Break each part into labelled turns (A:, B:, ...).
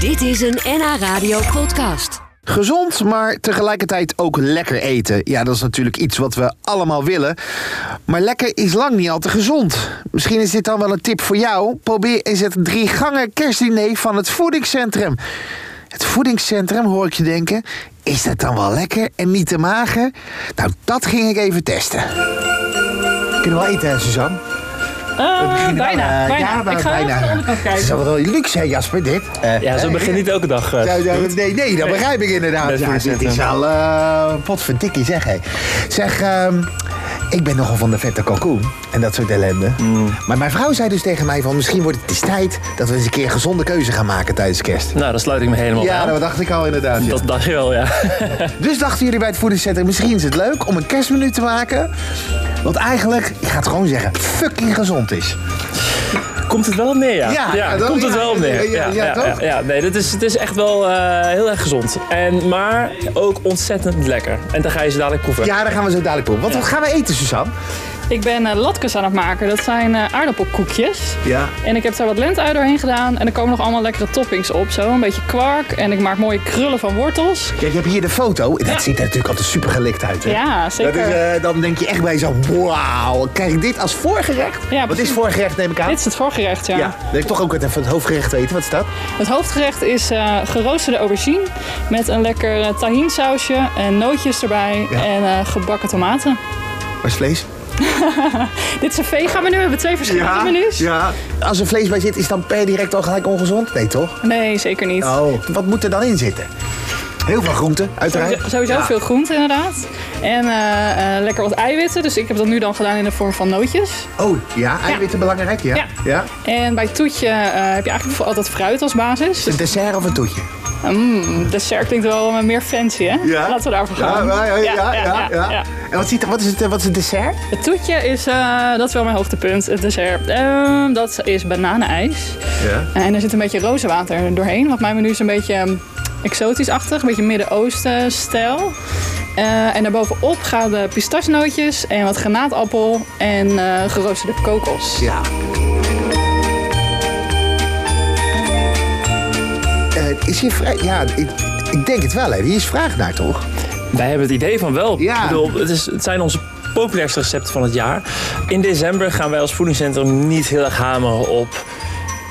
A: Dit is een NH Radio podcast.
B: Gezond, maar tegelijkertijd ook lekker eten. Ja, dat is natuurlijk iets wat we allemaal willen. Maar lekker is lang niet altijd gezond. Misschien is dit dan wel een tip voor jou. Probeer eens het drie gangen kerstdiner van het voedingscentrum. Het voedingscentrum, hoor ik je denken. Is dat dan wel lekker en niet te mager? Nou, dat ging ik even testen. Kunnen we wel eten, hè, Suzanne?
C: Eh,
B: Beginnen we
C: bijna,
B: wel, eh,
C: bijna.
B: Ja,
C: ik ga even aan de onderkant
B: Het is
C: kijken.
B: wel wel luxe, hè, Jasper, dit? Eh,
D: Ja, zo
B: eh,
D: begint niet elke dag. eh.
B: Ja, ja, nee, nee, dat begrijp ik inderdaad.
D: Best
B: Ja,
D: voor
B: dit
D: zetten.
B: is al eh potverdikkie, zeg hé. Zeg, ehm, ik ben nogal van de vette kalkoen en dat soort ellende. Maar mijn vrouw zei dus tegen mij van misschien wordt het eens tijd... dat we eens een keer een gezonde keuze gaan maken tijdens kerst.
D: Nou, dan sluit ik me helemaal
B: Ja,
D: aan.
B: dat dacht ik al inderdaad. ja.
D: Dat dacht je wel, ja.
B: Dus dachten jullie bij het voedingscentrum, misschien is het leuk om een kerstmenu te maken... wat eigenlijk, ik ga het gewoon zeggen, fucking gezond is.
D: Komt het wel op neer, ja.
B: Ja, ja, dat-
D: komt het
B: ja,
D: wel op neer.
B: ja, ja, ja, toch?
D: ja. nee, dit is, het is echt wel eh, heel erg gezond. En, maar ook ontzettend lekker. En dan ga je ze dadelijk proeven.
B: Ja, daar gaan we zo dadelijk proeven. Want wat gaan we eten, Suzanne?
C: Ik ben eh, latkes aan het maken. Dat zijn eh, aardappelkoekjes.
B: Ja.
C: En ik heb daar wat lentui doorheen gedaan. En er komen nog allemaal lekkere toppings op. Zo, een beetje kwark. En ik maak mooie krullen van wortels.
B: Kijk, je hebt hier de foto. Dat ziet er natuurlijk altijd super gelikt uit. Hè?
C: Ja, zeker.
B: Dat is, eh, dan denk je echt bij zo, wauw, krijg ik dit als voorgerecht?
C: Ja,
B: Wat is
C: precies.
B: voorgerecht, neem ik aan?
C: Dit is het voorgerecht, ja.
B: Ja, wil ik toch ook het, even het hoofdgerecht weten. Wat is dat?
C: Het hoofdgerecht is eh, geroosterde aubergine. Met een lekker eh, tahinsausje en nootjes erbij.
B: Ja.
C: En eh, gebakken tomaten.
B: Waar is vlees?
C: Dit is een vega-menu. We hebben twee verschillende menus.
B: ja. Als er vlees bij zit, is dan per direct al gelijk ongezond? Nee, toch?
C: Nee, zeker niet.
B: Oh, wat moet er dan in zitten? Heel veel groenten, uiteraard.
C: Sowieso, sowieso
B: Ja.
C: veel groente inderdaad. En eh, eh, lekker wat eiwitten. Dus ik heb dat nu dan gedaan in de vorm van nootjes.
B: Oh, ja, eiwitten belangrijk, ja.
C: Ja. Dus-
B: ja.
C: En bij toetje eh, heb je eigenlijk altijd fruit als basis.
B: Een
C: Dus
B: dessert of een toetje?
C: mm, dessert klinkt wel eh, meer fancy, hè? Laten we daarvoor gaan. ja.
B: En wat, ziet, er- wat, is het, eh, wat is het dessert?
C: Het toetje is, eh, dat is wel mijn hoogtepunt, het dessert. Ehm, dat is bananenijs. Eh,
B: Ja.
C: En er zit een beetje rozenwater doorheen. Want mijn menu is een beetje ehm, exotisch-achtig. Een beetje Midden-Oosten-stijl. Eh, en daarbovenop gaan de pistachenootjes en wat granaatappel en eh, geroosterde kokos.
B: Ja. Eh, is hier vrij... Ja, ik, ik denk het wel, hè. Hier is vraag naar, toch?
D: Wij hebben het idee van wel.
B: Ja.
D: Ik bedoel, het, is, het zijn onze populairste recepten van het jaar. In december gaan wij als voedingscentrum niet heel erg hameren op...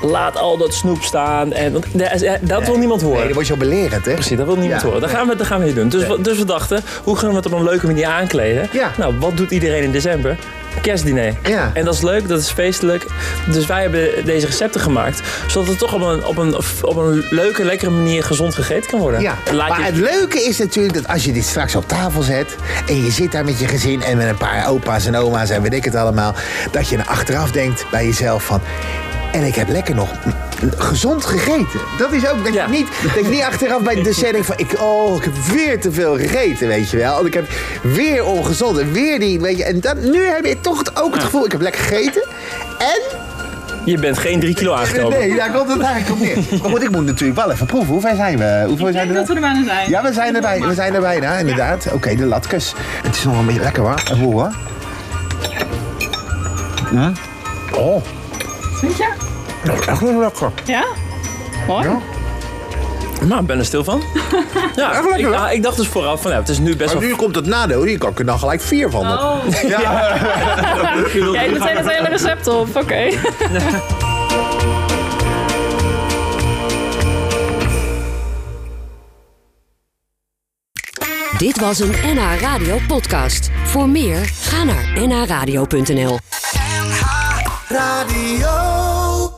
D: Laat al dat snoep staan. En, want daar is- eh, dat wil niemand horen.
B: Nee, dat wordt zo belerend, hè?
D: Precies, dat wil niemand
B: Ja,
D: horen. Dat gaan, we, dat gaan we niet doen. Dus, we- dus we dachten, hoe kunnen we het op een leuke manier aankleden?
B: Ja.
D: Nou, wat doet iedereen in december? Kerstdiner.
B: Ja.
D: En dat is leuk, dat is feestelijk. Dus wij hebben deze recepten gemaakt, zodat het toch op een, op een, op een leuke, lekkere manier gezond gegeten kan worden.
B: Ja.
D: Laat
B: Maar
D: je-
B: het leuke is natuurlijk dat als je dit straks op tafel zet... en je zit daar met je gezin en met een paar opa's en oma's en weet ik het allemaal... dat je er achteraf denkt bij jezelf van... en ik heb lekker nog mm, gezond gegeten. Dat is ook dat
D: Ja.
B: je niet, dat je niet achteraf bij de dessert denkt van... Ik, oh, ik heb weer te veel gegeten, weet je wel. En ik heb weer ongezond en weer die... Weet je, en dat, nu heb je toch het- ook het gevoel, ik heb lekker gegeten... en
D: je bent geen drie kilo aangekomen.
B: Nee, daar komt het eigenlijk op neer. Maar goed, ik moet natuurlijk wel even proeven. Hoe ver zijn we? Hoe ver zijn we?
C: er bijna zijn.
B: Ja, we zijn erbij. We zijn er bijna, inderdaad. Oké, de latkes. Het is nog een beetje lekker hoor. Even hoor. Ja. Oh,
C: Vind je?
B: dat is echt wel lekker.
C: Ja? Mooi.
B: Ja.
D: Maar ik ben er stil van. ja,
B: Echt lekker,
D: ik,
B: hè?
D: ah, ik dacht dus vooraf van, ja, het is nu best
B: Maar
D: wel...
B: nu komt het nadeel. Hier kan ik er dan gelijk vier van.
C: Oh.
B: doen. Ja.
C: Jij doet meteen het hele recept op, oké.
A: Dit was een NH Radio podcast. Voor meer, ga naar nhradio.nl.
E: Radio.